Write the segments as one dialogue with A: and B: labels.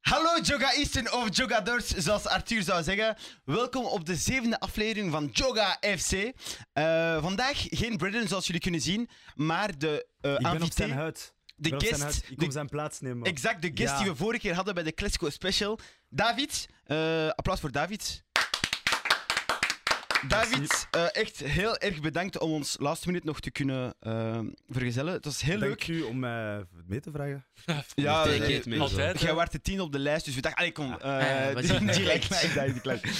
A: Hallo Jogaisten of Jogadors, zoals Arthur zou zeggen. Welkom op de zevende aflevering van Joga FC. Eh, vandaag geen Britain zoals jullie kunnen zien, maar de eh
B: Ik ben op
A: invité-
B: zijn huid. Ik
A: de
B: ben op zijn huid.
A: guest,
B: Ik
A: de-
B: kom zijn plaats nemen.
A: exact de guest
B: Ja.
A: die we vorige keer hadden bij de Classico Special. David, eh, applaus voor David. David, eh, echt heel erg bedankt om ons last minute nog te kunnen eh, vergezellen. Het was heel
B: Dank
A: leuk.
B: u om mij mee te vragen.
A: Ja,
C: Take
A: eh,
C: it, man.
D: Altijd.
A: Jij was de tien op de lijst, dus we dachten, allee, kom,
C: ja,
A: eh
C: we
A: die,
C: zien het
A: die lijkt
C: direct.
A: mij die lijkt mij.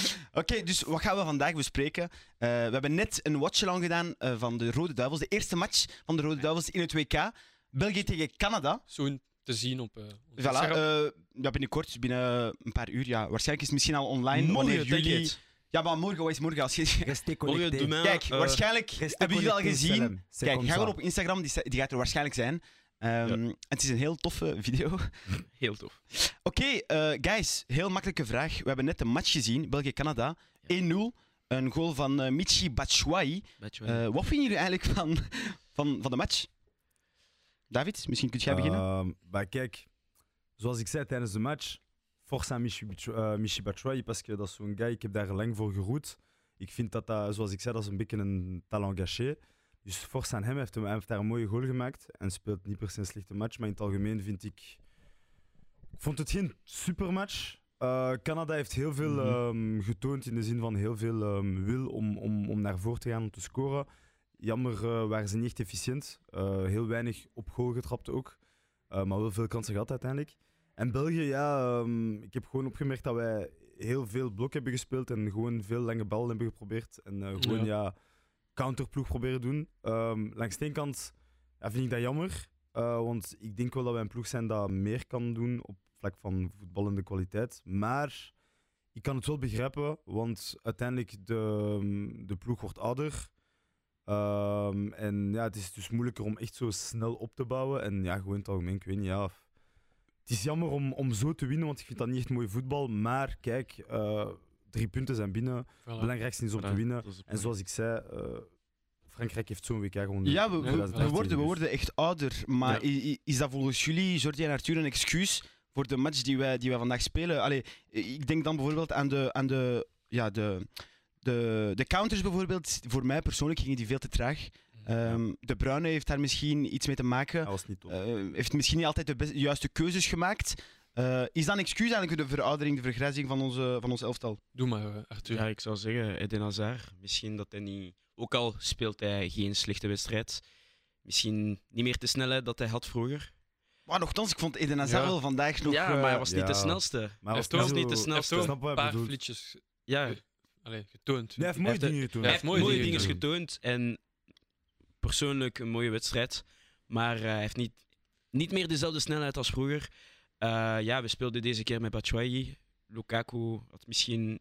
A: Oké, dus wat gaan we vandaag bespreken? Eh, we hebben net een watch-along gedaan eh, van de Rode Duivels. De eerste match van de Rode Duivels in het WK. België tegen Canada.
D: Zoen te zien op. eh, onze
A: Voilà,
D: Instagram.
A: eh, ja, binnenkort, binnen een paar uur. Ja, waarschijnlijk is het misschien al online. wanneer
C: Morgen,
A: jullie-
C: jullie... it.
A: Ja, maar morgen, wat is morgen? Als je...
B: Restez
C: Morgen,
B: connectés.
C: demain,
A: Kijk,
C: eh,
A: waarschijnlijk
B: Restez
A: hebben jullie het al
B: connectés,
A: gezien.
B: Salem. C'est
A: Kijk,
B: comme
A: ga
B: ça.
A: gewoon op Instagram, die, sta- die gaat er waarschijnlijk zijn. Ehm, Het is een heel toffe video.
C: Heel tof.
A: Oké, eh, guys, heel makkelijke vraag. We hebben net een match gezien, België-Canada.
C: Ja.
A: 1-0, een goal van eh, Michi Batshuayi.
C: Beetje
A: Eh, wat vinden jullie eigenlijk van, van, van de match? David, misschien kunt jij beginnen.
B: Ehm, maar kijk, zoals ik zei tijdens de match, force aan Michi, Bichu- eh, Michi Batshuayi, parce que dat is zo'n guy, ik heb daar lang voor geroet. Ik vind dat dat, zoals ik zei, dat is een beetje een talent gâché. Dus force aan hem, hij heeft, hem- hij heeft daar een mooie goal gemaakt en speelt niet per se een slechte match, maar in het algemeen vind ik... Ik vond het geen supermatch. Eh, Canada heeft heel veel
A: Mhm.
B: ehm, getoond in de zin van heel veel ehm, wil om, om, om naar voren te gaan, om te scoren. Jammer eh, waren ze niet echt efficiënt. Eh, heel weinig op goal getrapt ook. Eh, maar wel veel kansen gehad uiteindelijk. En België, ja, ehm, ik heb gewoon opgemerkt dat wij heel veel blok hebben gespeeld en gewoon veel lange ballen hebben geprobeerd. En eh, gewoon, ja, counterploeg proberen doen. Ehm, langs de ene kant ja, vind ik dat jammer, eh, want ik denk wel dat wij een ploeg zijn dat meer kan doen op vlak van voetballende kwaliteit. Maar ik kan het wel begrijpen, want uiteindelijk de, ehm, de ploeg wordt ouder. Ehm, en ja, het is dus moeilijker om echt zo snel op te bouwen. En ja, gewoon in het algemeen, ik weet niet, ja... Het is jammer om, om zo te winnen, want ik vind dat niet echt mooi voetbal. Maar kijk, eh, drie punten zijn binnen. Het
D: Voilà.
B: belangrijkste is om te winnen. En zoals ik zei, eh, Frankrijk heeft zo'n WK gewonnen.
A: ja, we, we- we,
B: 2018,
A: worden, we
B: dus.
A: worden echt ouder. Maar i- i- is dat volgens jullie, Jordi en Arthur, een excuus voor de match die wij, die wij vandaag spelen? Allee, ik denk dan bijvoorbeeld aan de... Aan de, ja, de de, de counters bijvoorbeeld, voor mij persoonlijk gingen die veel te traag.
D: Eh,
A: Ehm, de Bruyne heeft daar misschien iets mee te maken.
B: Dat was niet top.
A: Eh, heeft misschien niet altijd de best- juiste keuzes gemaakt. Eh, is dat een excuus eigenlijk de veroudering, de vergrijzing van, onze, van ons elftal?
D: Doe maar, eh, Arthur.
C: Dus Ja, ik zou zeggen, Eden Hazard. Misschien dat hij niet... Ook al speelt hij geen slechte wedstrijd. Misschien niet meer de snelheid dat hij had vroeger.
A: Maar nogthans, ik vond Eden Hazard
D: Ja.
A: wel vandaag nog...
C: ja,
A: eh,
C: maar hij was niet
B: ja.
C: de snelste.
B: Maar
D: hij
B: was
D: heeft ook
B: zo-
C: niet de
D: Hij heeft
C: snelste.
D: ook
B: Snap wat
D: een
B: hij
D: paar
B: bedoelt.
D: flitjes
C: Ja,
D: Ja. allee,
B: Nee,
D: getoond.
B: hij heeft mooie
C: heeft-
B: dingen getoond.
D: hij
C: hij
D: heeft
C: heeft
D: mooie
C: mooie,
D: dingen
C: dingen getoond. En persoonlijk een mooie wedstrijd. Maar eh, hij heeft niet, niet meer dezelfde snelheid als vroeger. Eh, ja, we speelden deze keer met Batshuayi. Lukaku had misschien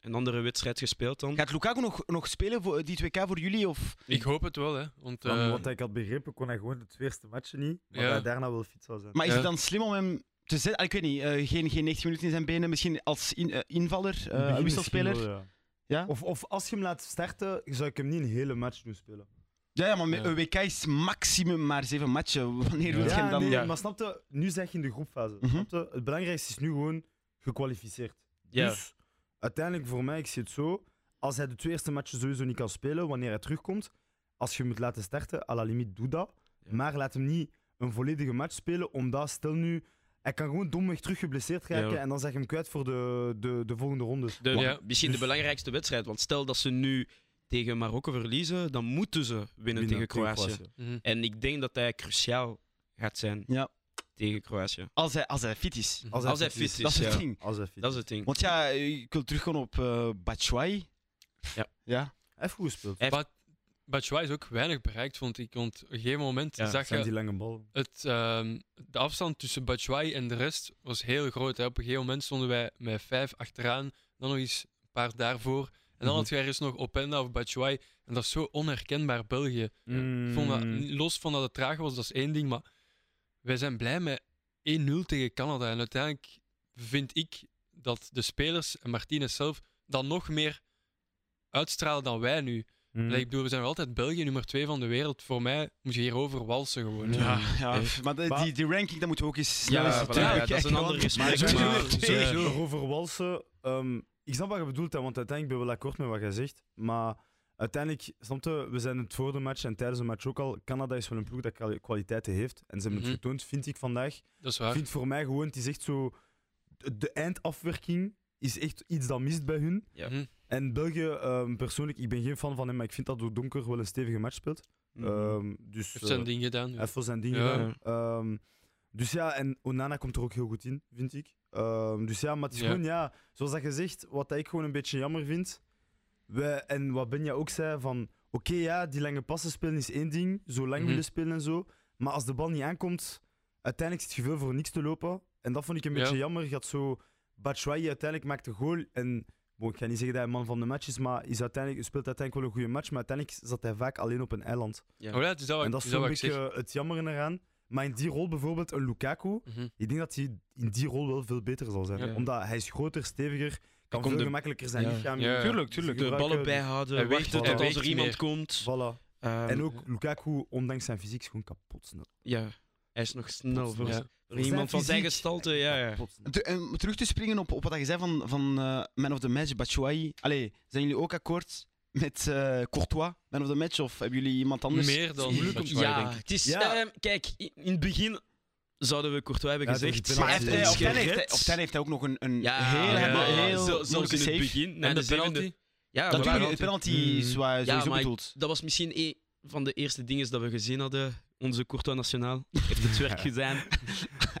C: een andere wedstrijd gespeeld dan.
A: Gaat Lukaku nog, nog spelen voor eh, die 2K voor jullie? Of...
D: Ik hoop het wel, hè. Want,
B: Van
D: eh,
B: wat ik had begrepen, kon hij gewoon het eerste matchje niet. Maar
D: Ja.
B: hij daarna wel fit zou zijn.
A: Maar is
D: Ja.
A: het dan slim om hem te zetten? Ah, Ik weet niet, eh, geen, geen 90 minuten in zijn benen, misschien als in- eh, invaller, eh,
B: In het begin
A: wisselspeler?
B: misschien wel, ja.
A: Ja?
B: Of, of als je hem laat starten, zou ik hem niet een hele match doen spelen.
A: Ja, ja, maar met
D: Ja.
A: een WK is maximum maar zeven matchen. Wanneer wil je hem dan...
B: nee,
D: Ja.
B: Maar snap je, nu zeg je in de groepfase.
A: Mhm.
B: Snap je? Het belangrijkste is nu gewoon gekwalificeerd.
C: Ja.
B: Dus uiteindelijk voor mij, ik zie het zo. Als hij de twee eerste matchen sowieso niet kan spelen, wanneer hij terugkomt, als je hem moet laten starten, à la limiet doe dat.
C: Ja.
B: Maar laat hem niet een volledige match spelen, omdat stel nu, hij kan gewoon domweg terug geblesseerd raken
C: Ja.
B: en dan zeg je hem kwijt voor de, de, de volgende ronde.
D: de,
C: Want
D: ja,
C: Misschien
B: Dus-
C: de belangrijkste wedstrijd. Want stel dat ze nu tegen Marokko verliezen, dan moeten ze winnen, tegen Kroatië.
D: mhm.
C: En ik denk dat hij cruciaal gaat zijn
A: Ja.
C: tegen Kroatië.
A: Als, hij, als hij fit is.
C: Als hij fit is,
A: Dat is het
C: ja.
A: ding.
B: Als hij fit
C: Dat is
B: is.
C: het ding.
A: Want ja, ik wil terugkomen op eh Batshuayi.
C: Ja.
A: Ja.
B: Hij heeft goed gespeeld.
C: Hij heeft-
D: Bat- Batshuayi is ook weinig bereikt, vond ik. Want op een gegeven moment
C: Ja,
D: zag
B: Zijn
D: je
B: die lange bal.
D: het, ehm, de afstand tussen Batshuayi en de rest was heel groot. Hè. Op een gegeven moment stonden wij met vijf achteraan, dan nog eens een paar daarvoor. En dan
B: Mhm.
D: had je ergens nog Openda of Batshuayi. En dat is zo onherkenbaar België. Ik vond dat,
B: Hmm.
D: los van dat het traag was, dat is één ding. Maar wij zijn blij met 1-0 tegen Canada. En uiteindelijk vind ik dat de spelers en Martinez zelf dan nog meer uitstralen dan wij nu.
B: Mm.
D: Like, ik bedoel, we zijn wel altijd België nummer 2 van de wereld. Voor mij moet je hierover walsen gewoon.
A: Ja, ja,
C: Echt.
A: maar de-
B: Maar-
A: die, die ranking, dat moeten we ook eens
C: Ja,
A: eens
C: voilà,
A: natuurlijk,
C: ja, dat is
A: echt
C: een
A: wel-
C: ander gesprek,
A: Maar
B: maar-
A: sowieso,
C: Ja.
A: sowieso.
B: Dus, eh, Over walsen. ehm, ik snap wat je bedoelt, hè, want uiteindelijk ben ik wel akkoord met wat jij zegt. Maar uiteindelijk, snap je, we zijn het voor de match en tijdens de match ook al. Canada is wel een ploeg dat kwali- kwaliteiten heeft. En ze hebben
D: Mhm.
B: het getoond, vind ik vandaag.
D: Dat is
B: Ik
D: waar.
B: vind voor mij gewoon, het is echt zo... de- De eindafwerking is echt iets dat mist bij hun.
C: Ja.
D: Mhm.
B: En België, ehm, persoonlijk, ik ben geen fan van hem, maar ik vind dat door Donker wel een stevige match speelt.
C: Mm.
A: eh,
B: Ehm, dus,
D: Heeft Mhm. zijn
B: eh,
D: ding gedaan.
B: Hij heeft wel zijn ding
D: Ja.
B: gedaan. Ehm, dus ja, en Onana komt er ook heel goed in, vind ik. Ehm, dus ja, maar het is
D: Ja.
B: gewoon, ja, zoals dat je zegt, wat ik gewoon een beetje jammer vind. We, en wat Benja ook zei, van oké, ja, die lange passen spelen is één ding, zo lang
D: Mhm.
B: willen spelen en zo. Maar als de bal niet aankomt, uiteindelijk zit je veel voor niks te lopen. En dat vond ik een
D: Ja.
B: beetje jammer. Je had zo, Batshuayi uiteindelijk maakt een goal. En bon, ik ga niet zeggen dat hij man van de match is, maar is uiteindelijk, speelt uiteindelijk wel een goede match. Maar uiteindelijk zat hij vaak alleen op een eiland.
C: Ja.
D: Oh ja, het is dat wat,
B: En
D: ik-
B: dat eh,
D: het
B: is
D: is dat
B: zo'n
D: wat ik
B: beetje
D: zeg.
B: het jammer eraan. Maar in die rol bijvoorbeeld een Lukaku,
D: Mhm.
B: ik denk dat hij in die rol wel veel beter zal zijn.
C: Ja.
B: Omdat hij is groter, steviger, kan
C: komt
B: veel
C: de-
B: gemakkelijker zijn
D: Ja.
B: lichaam.
D: Ja.
C: Tuurlijk, tuurlijk. De ballen
B: gebruiken-
C: bijhouden,
D: Hij weegt-
C: wachten
B: hij
C: tot als er
D: weegt
C: iemand
D: meer.
C: komt.
B: Voilà.
C: Ehm,
B: En ook Lukaku, ondanks zijn fysiek, is gewoon kapot snel.
C: Ja, hij is nog snel Nou, voor
D: Ja.
C: voor iemand van zijn gestalte. Ja, ja.
B: Kapot snel.
A: Te- en ehm, om terug te springen op, op wat je zei van, van eh, Man of the Match, Batshuayi. Allee, zijn jullie ook akkoord met eh, Courtois, Man of the Match? Of hebben jullie iemand anders?
D: Meer dan
A: Is-
D: Batshuayi,
C: Ja,
D: denk ik.
C: het is,
B: Ja.
C: ehm, kijk, i- in het begin zouden we Courtois hebben
B: Ja,
C: gezegd.
B: dat is
A: Maar
B: Ja,
A: heeft,
B: die
A: hij-
B: is
A: of dan heeft, hij-
C: gered.
A: of dan heeft hij ook nog een, een
C: ja,
A: heel,
D: ja,
A: heel,
D: ja.
A: heel
C: Zo- Zelfs
A: moeilijke
C: in het
A: save.
C: begin.
D: En
C: En
D: de
C: de zevende.
D: penalty?
C: Ja,
A: Natuurlijk,
C: voilà. Hmm.
A: de penalty
D: Mm.
A: is waar
C: Ja,
A: sowieso
C: maar ik-
A: bedoeld.
C: Dat was misschien een van de eerste dingen dat we gezien hadden. Onze Courtois Nationaal heeft het werk gedaan.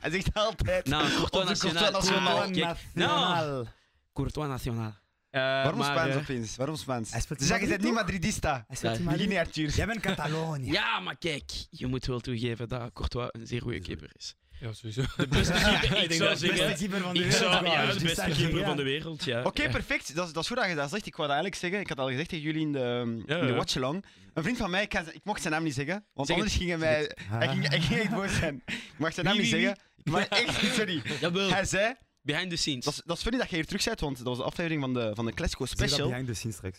A: Hij zegt altijd...
C: Nou, Courtois
A: Onze Courtois
C: Nationaal.
A: Nationaal.
C: Ah, kijk,
B: Nationaal.
C: Courtois Eh, Nationaal.
A: Waarom Spaans
C: op?
A: opeens? Waarom Spaans?
B: Hij speelt in
A: Zeg, je bent
B: Madrid,
A: niet
B: toch?
A: Madridista.
B: Hij speelt
C: Ja.
B: in Mali.
A: Begin niet, Arthur.
B: Jij bent Catalonië.
C: Ja, maar kijk, je moet wel toegeven dat Courtois een zeer goede keeper is.
D: Ja, sowieso.
C: De beste keeper, ik zou
B: de beste
C: zeggen.
B: keeper van de
C: Ik
B: wereld.
C: zou, ja,
B: was,
C: de
B: dus
C: beste
B: dat is
C: keeper
B: geniaal.
C: van de wereld, ja.
A: Oké, perfect. Dat is, dat is goed dat je dat zegt. Ik wou dat eigenlijk zeggen. Ik had al gezegd tegen jullie in de, um, in de
C: ja.
A: watchalong. Een vriend van mij, ik, kan z- ik mocht zijn naam niet zeggen. Want
C: Zeg het.
A: anders ging hij mij...
C: Ah,
A: Hij ging, hij ging echt boos zijn. Ik mag zijn naam
C: Wie,
A: niet
C: wie,
A: zeggen. Maar echt, sorry.
C: Jawel,
A: Hij zei...
C: behind the scenes.
A: Dat is, dat is funny dat je hier terug bent, want dat was de aflevering van de, van de Classico
B: Zeg dat
A: Special. Oké,
B: behind the scenes straks.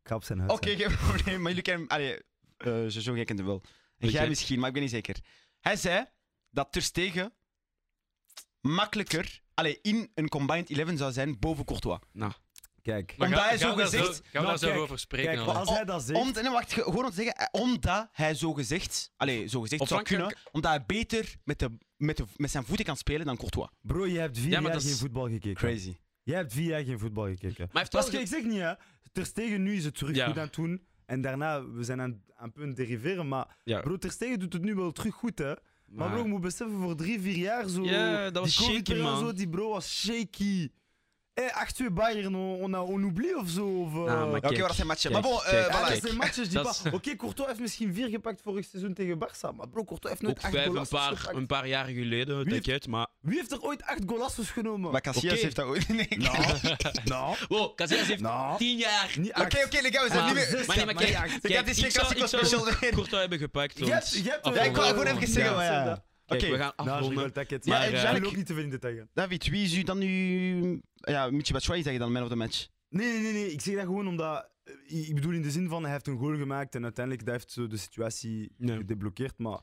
B: Ik ga op zijn huis. zijn.
A: geen probleem. Maar jullie kennen... Allee, eh zo jij kent hem wel. En
C: Weet
A: jij
C: jij?
A: misschien, maar ik ben niet zeker. Hij zei dat Ter Stegen makkelijker... Allee, in een combined 11 zou zijn boven Courtois.
C: Nou.
B: Kijk.
A: Maar Omdat
D: ga-
A: hij zo
D: gaan we daar
A: gezegd-
D: Gaan we
B: Nou,
D: daar zo
B: kijk,
D: over spreken?
B: Kijk,
D: al?
B: maar als hij
C: Oh,
B: dat zegt...
A: Om, nee, wacht, ge- gewoon om te zeggen, eh, omdat hij zo gezegd, allez, zo gezegd
C: Op
A: zou kunnen,
C: Frankrijk-
A: omdat hij beter met, de, met, de, met zijn voeten kan spelen dan Courtois.
B: Bro, je hebt vier
C: Ja, maar
B: jaar
C: dat is
B: geen voetbal gekeken.
A: Crazy.
B: Jij hebt vier jaar geen voetbal gekeken.
C: Maar hij heeft wel
B: Pas, ik zeg niet, hè. Ter Stegen nu is het terug
C: Ja.
B: goed aan het doen. En daarna, we zijn aan, aan het punt deriveren. Maar
C: Ja.
B: bro, Ter Stegen doet het nu wel terug goed, hè. Maar,
C: Nou,
B: bro, ik moet beseffen, voor drie, vier jaar zo...
C: Ja, dat was
B: die
C: shaky,
B: COVID-periode
C: man.
B: Zo, die bro was shaky. Hé, 8-2 Bayern, on, on, a- on oublie of zo. Of, eh,
C: Nou, maar
A: Oké,
C: Kijk,
A: wat zijn matchen.
C: kijk,
A: maar bon, eh,
C: kijk.
A: voilà.
B: ja, dat
C: kijk.
B: zijn matches die
C: Dat is-
B: pas... Oké, Courtois heeft misschien vier gepakt vorig seizoen tegen Barça. Maar bro, Courtois heeft nooit
C: ook
B: acht
C: vijf, een
B: goals
C: paar, een paar jaren geleden,
B: Wie-
C: denk uit, maar...
B: Wie heeft er ooit acht golasses genomen?
A: Maar Casillas
C: Oké.
A: heeft dat ook niet. Oké,
B: Nou, nou,
C: Wow, Casillas heeft
B: nou.
C: tien jaar...
B: Niet acht.
A: oké, les gars, we zijn
C: Maar-
A: niet meer...
B: zes,
C: Ah, maar nee, maar
B: niet
C: kijk,
B: acht.
A: Zeg, dat is geen
C: ik zou-
A: Classico
C: ik zou-
A: Special meer.
C: Courtois hebben gepakt,
B: Je hebt-
C: want...
B: je hebt
C: Ja,
A: Ja, ik wou
B: wel-
A: gewoon even zeggen, maar ja.
C: Kijk,
A: Oké,
C: we gaan
B: Nou, je
C: afronden.
B: wilt dat ik het-
A: Maar,
B: Ja,
A: eh,
B: ik wil
A: eigenlijk-
B: ook niet te veel in detail gaan.
A: David, wie is u dan nu... Ja, Michi Batshuayi zeg je dan, man of the match.
B: Nee, nee, nee, nee, ik zeg dat gewoon omdat... eh, Ik bedoel in de zin van, hij heeft een goal gemaakt en uiteindelijk dat heeft zo de situatie
C: Nee.
B: gedeblokkeerd. Maar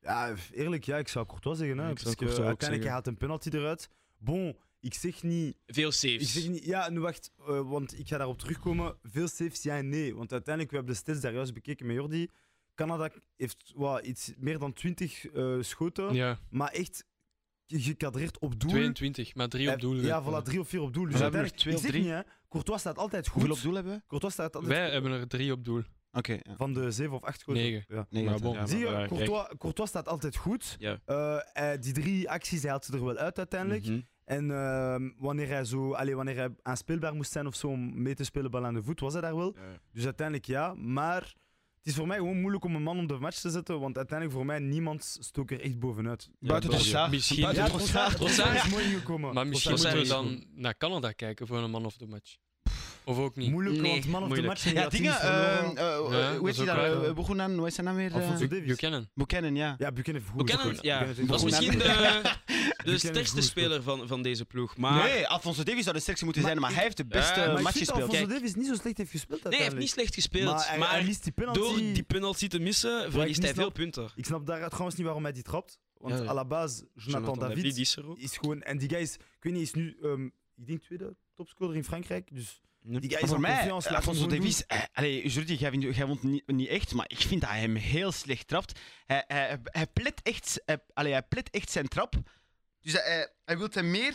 B: ja, eerlijk, ja, ik zou Courtois zeggen. Hè,
C: Ja, ik zou
B: parce que
C: Courtois ook
B: uiteindelijk
C: zeggen.
B: hij haalt een penalty eruit. Bon, ik zeg niet...
C: Veel
B: Ik
C: saves.
B: zeg niet ja, nu wacht, eh, want ik ga daarop terugkomen. Veel saves, ja en nee. Want uiteindelijk, we hebben de stats daar juist bekeken met Jordi. Canada heeft wat, iets meer dan 20 eh, schoten,
D: Ja,
B: maar echt gekadreerd op doel.
D: 22, maar 3 op doel.
B: Eh, Ja, voilà, drie of vier op doel. Dus
A: We hebben er
B: uiteindelijk,
A: twee
B: ik
A: of
B: zeg
A: drie.
B: niet, hè, Courtois staat altijd goed.
A: Hoeveel op doel hebben we?
B: Courtois staat altijd
D: Wij hebben er 3 op doel.
A: Oké, ja.
B: van de zeven of acht schoten.
D: Negen.
B: Ja.
A: Nee,
D: Maar
A: dat-
D: bon.
A: ja.
B: Zie je,
D: maar,
B: Courtois, Courtois staat altijd goed.
C: Ja.
B: Eh, hij- die drie acties, hij haalt ze er wel uit uiteindelijk.
C: Mhm.
B: En ehm, wanneer, hij zo, allee, wanneer hij aanspeelbaar moest zijn of zo om mee te spelen, bal aan de voet, was hij daar wel.
C: Ja.
B: Dus uiteindelijk ja, maar het is voor mij gewoon moeilijk om een man om de match te zetten, want uiteindelijk voor mij niemand stook er echt bovenuit.
A: Buiten
C: Ja,
A: Trossard.
D: misschien-
A: Buiten
B: Ja,
A: Trossard.
B: Trossard
D: Trossard.
B: is mooi ingekomen.
D: Maar misschien
C: Trossard
D: moeten we
C: is
D: dan naar Canada kijken voor een man of the match. Of ook niet.
B: Moeilijk,
C: Nee,
B: want man of
D: moeilijk.
B: de match. en die
A: Ja, dingen.
B: had teams verloren.
A: eh, eh,
D: Ja, dat
A: hoe heet
D: is
A: hij
D: ook
A: daar?
D: waar, ja.
A: Eh, Buchanan, hoe is zijn naam weer? eh?
B: Alfonso Davies.
D: Buchanan.
A: Buchanan, ja.
B: Ja, Buchanan heeft goed.
C: Buchanan,
B: gespeeld.
C: ja.
B: Buchanan heeft
C: Dat is
B: goed
C: misschien
A: euh,
B: gespeeld.
C: de, de
B: goed
C: sterkste
B: gespeeld.
C: speler van, van deze ploeg. Maar
A: Nee, Alfonso Davies zou de sterkste moeten
B: Maar
A: zijn, maar
B: ik- Eh,
A: hij heeft de beste
C: Ja, maar
B: Maar
A: match
B: ik vind dat
A: gespeeld.
B: Euh, Alfonso
C: Kijk.
B: Davies niet zo slecht heeft gespeeld
A: Eh,
C: Nee, hij heeft niet
B: uiteindelijk.
C: sleeft gespeeld.
B: Maar hij,
C: Maar,
B: hij mist die penalty.
C: door die penalty te missen, verliest
B: niet
C: hij veel
B: snap-
C: punten.
B: Ik snap daar trouwens niet waarom hij die trapt.
A: Ah
B: Want
C: Ja.
B: à la base, Jonathan, David,
C: David is er ook.
B: is gewoon... En die guy is, ik weet niet, is nu, ehm, ik denk tweede topscorer in Frankrijk. Dus
C: Nee.
B: die guy
A: Maar
B: is
A: voor
B: aan
A: mij,
B: confiance, laat hem
A: Alfonso
B: gewoon
A: Davies, eh, allee, Jordi, jij, vindt- jij woont niet, niet echt, maar ik vind dat hij hem heel slecht trapt. Hij, hij, hij, plet, echt, z- hij, allee, hij plet echt zijn trap. Dus hij, hij, hij wil hem meer.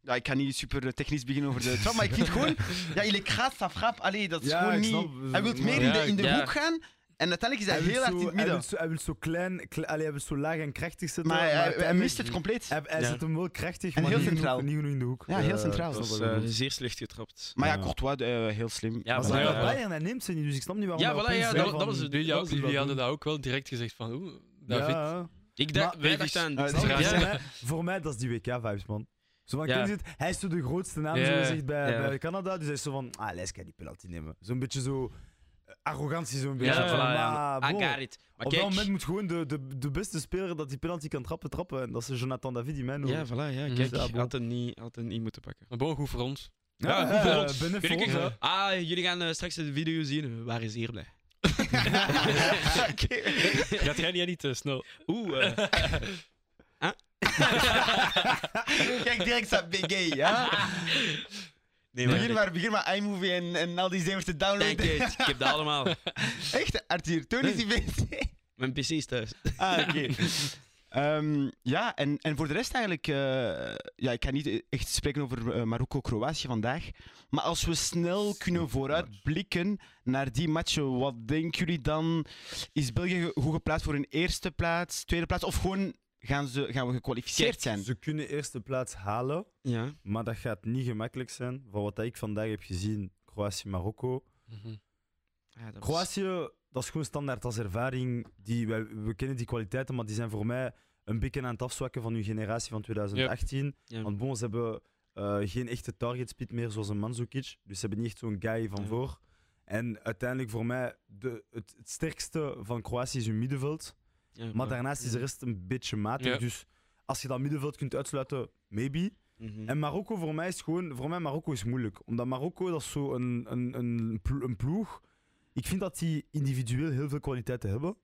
A: Ja, ik kan niet super technisch beginnen over de trap, maar ik vind gewoon. Ja, il est graag, sa frappe. Allee, dat is
B: Ja,
A: gewoon
B: ik
A: niet.
B: snap. uh,
A: Hij wil meer in
D: Ja,
A: de, in de
C: ja.
A: hoek gaan en uiteindelijk is hij,
B: wil
A: heel hard
B: zo-
A: in het
B: Hij
A: midden.
B: wil zo, hij wil zo klein, kle- allee, hij wil zo laag en krachtig zitten.
A: maar hij, hij
B: uiteindelijk-
A: mist het compleet.
B: Hij, hij
C: Ja.
B: zet hem wel krachtig,
A: En
B: maar
A: heel
B: niet genoeg-
A: centraal.
B: niet genoeg in de hoek.
A: Ja, heel
B: Eh,
A: centraal.
C: Dat
B: snap
C: was
B: wat ik
C: eh,
B: bedoel.
C: zeer slecht getrapt.
A: Maar ja,
B: Ja.
A: Courtois, eh, heel slim.
C: Ja,
B: Maar ze
C: voilà,
B: waren
D: ja.
B: Bayern, hij neemt ze niet, dus ik snap niet waarom
C: Ja,
B: hij
C: voilà,
B: opeens
C: ja,
B: zei
C: dat, dat
B: van-
C: was het
D: Die-
C: doel.
D: Ja,
C: dat was het
D: jullie
C: doel.
D: hadden dat ook wel direct gezegd van, oeh, David.
B: Ja.
C: Ik dacht,
B: Maar
C: wij
D: Davies-
C: dachten aan...
A: Eh,
B: Snap je?
A: Ja.
B: Voor, mij, voor mij, dat is die WK-vibes, man. Zo van,
C: Ja.
B: ken je het? Hij is zo de grootste naam,
D: Ja,
B: zo gezegd, bij,
C: ja.
B: bij Canada. Dus hij is zo van, ah, les kan die penalty nemen. Zo'n beetje zo... eh, Arrogantie zo'n beetje.
C: Ja,
B: Zo van,
C: voilà, ja.
B: ah,
C: I
B: bon.
C: got it. Maar
B: Op dat
C: kijk...
B: moment moet gewoon de, de, de beste speler dat die penalty kan trappen, trappen. En dat is Jonathan David, die man.
C: Ja, voilà, ja,
D: Mhm.
C: kijk,
B: Ja, bon.
C: had hem niet, had hem niet moeten pakken.
D: Maar bon, goed voor ons.
C: Ja,
B: eh,
C: goed voor ons.
B: binnen voor
D: Gelukkig,
B: ons, hè.
D: hè.
C: Ah, jullie gaan eh, straks de video zien. We waren zeer blij.
D: Gaat jij niet, niet te snel?
C: Oeh, eh,
A: Kijk direct naar BG, ja?
C: nee,
A: begin,
C: maar...
A: maar, begin maar iMovie en, en al die zeven te
C: Thank
A: downloaden.
C: you, ik heb dat allemaal.
A: Echt, Arthur, toon eens die bezig.
C: Mijn PC is thuis.
A: Ah, oké. Ehm, ja, en, en voor de rest eigenlijk... eh, ja, ik kan niet echt spreken over eh, Marokko-Kroatië vandaag. Maar als we snel kunnen vooruitblikken naar die matchen, wat denken jullie dan? Is België ge- goed geplaatst voor een eerste plaats, tweede plaats? Of gewoon gaan, ze, gaan we gekwalificeerd zijn?
B: Ze kunnen eerste plaats halen.
C: Ja.
B: Maar dat gaat niet gemakkelijk zijn. Van wat ik vandaag heb gezien, Kroatië-Marokko. Mhm.
C: Ja, Ah, dat was-
B: Kroatië, dat is gewoon standaard als ervaring. Die, wij, we kennen die kwaliteiten, maar die zijn voor mij een beetje aan het afzwakken van hun generatie van 2018.
C: Ja.
B: Want bon, ze hebben eh, geen echte target speed meer zoals een Mandzukic. Dus ze hebben niet echt zo'n guy van
C: Ja.
B: voor. En uiteindelijk voor mij, de, het, het sterkste van Kroatië is hun middenveld.
C: Ja,
B: Maar daarnaast is de rest een beetje matig.
D: Ja.
B: Dus als je dat middenveld kunt uitsluiten, maybe.
C: Mhm.
B: En Marokko voor mij is gewoon, voor mij Marokko is moeilijk. Omdat Marokko dat is zo een, een, een, plo- een ploeg. Ik vind dat die individueel heel veel kwaliteiten hebben.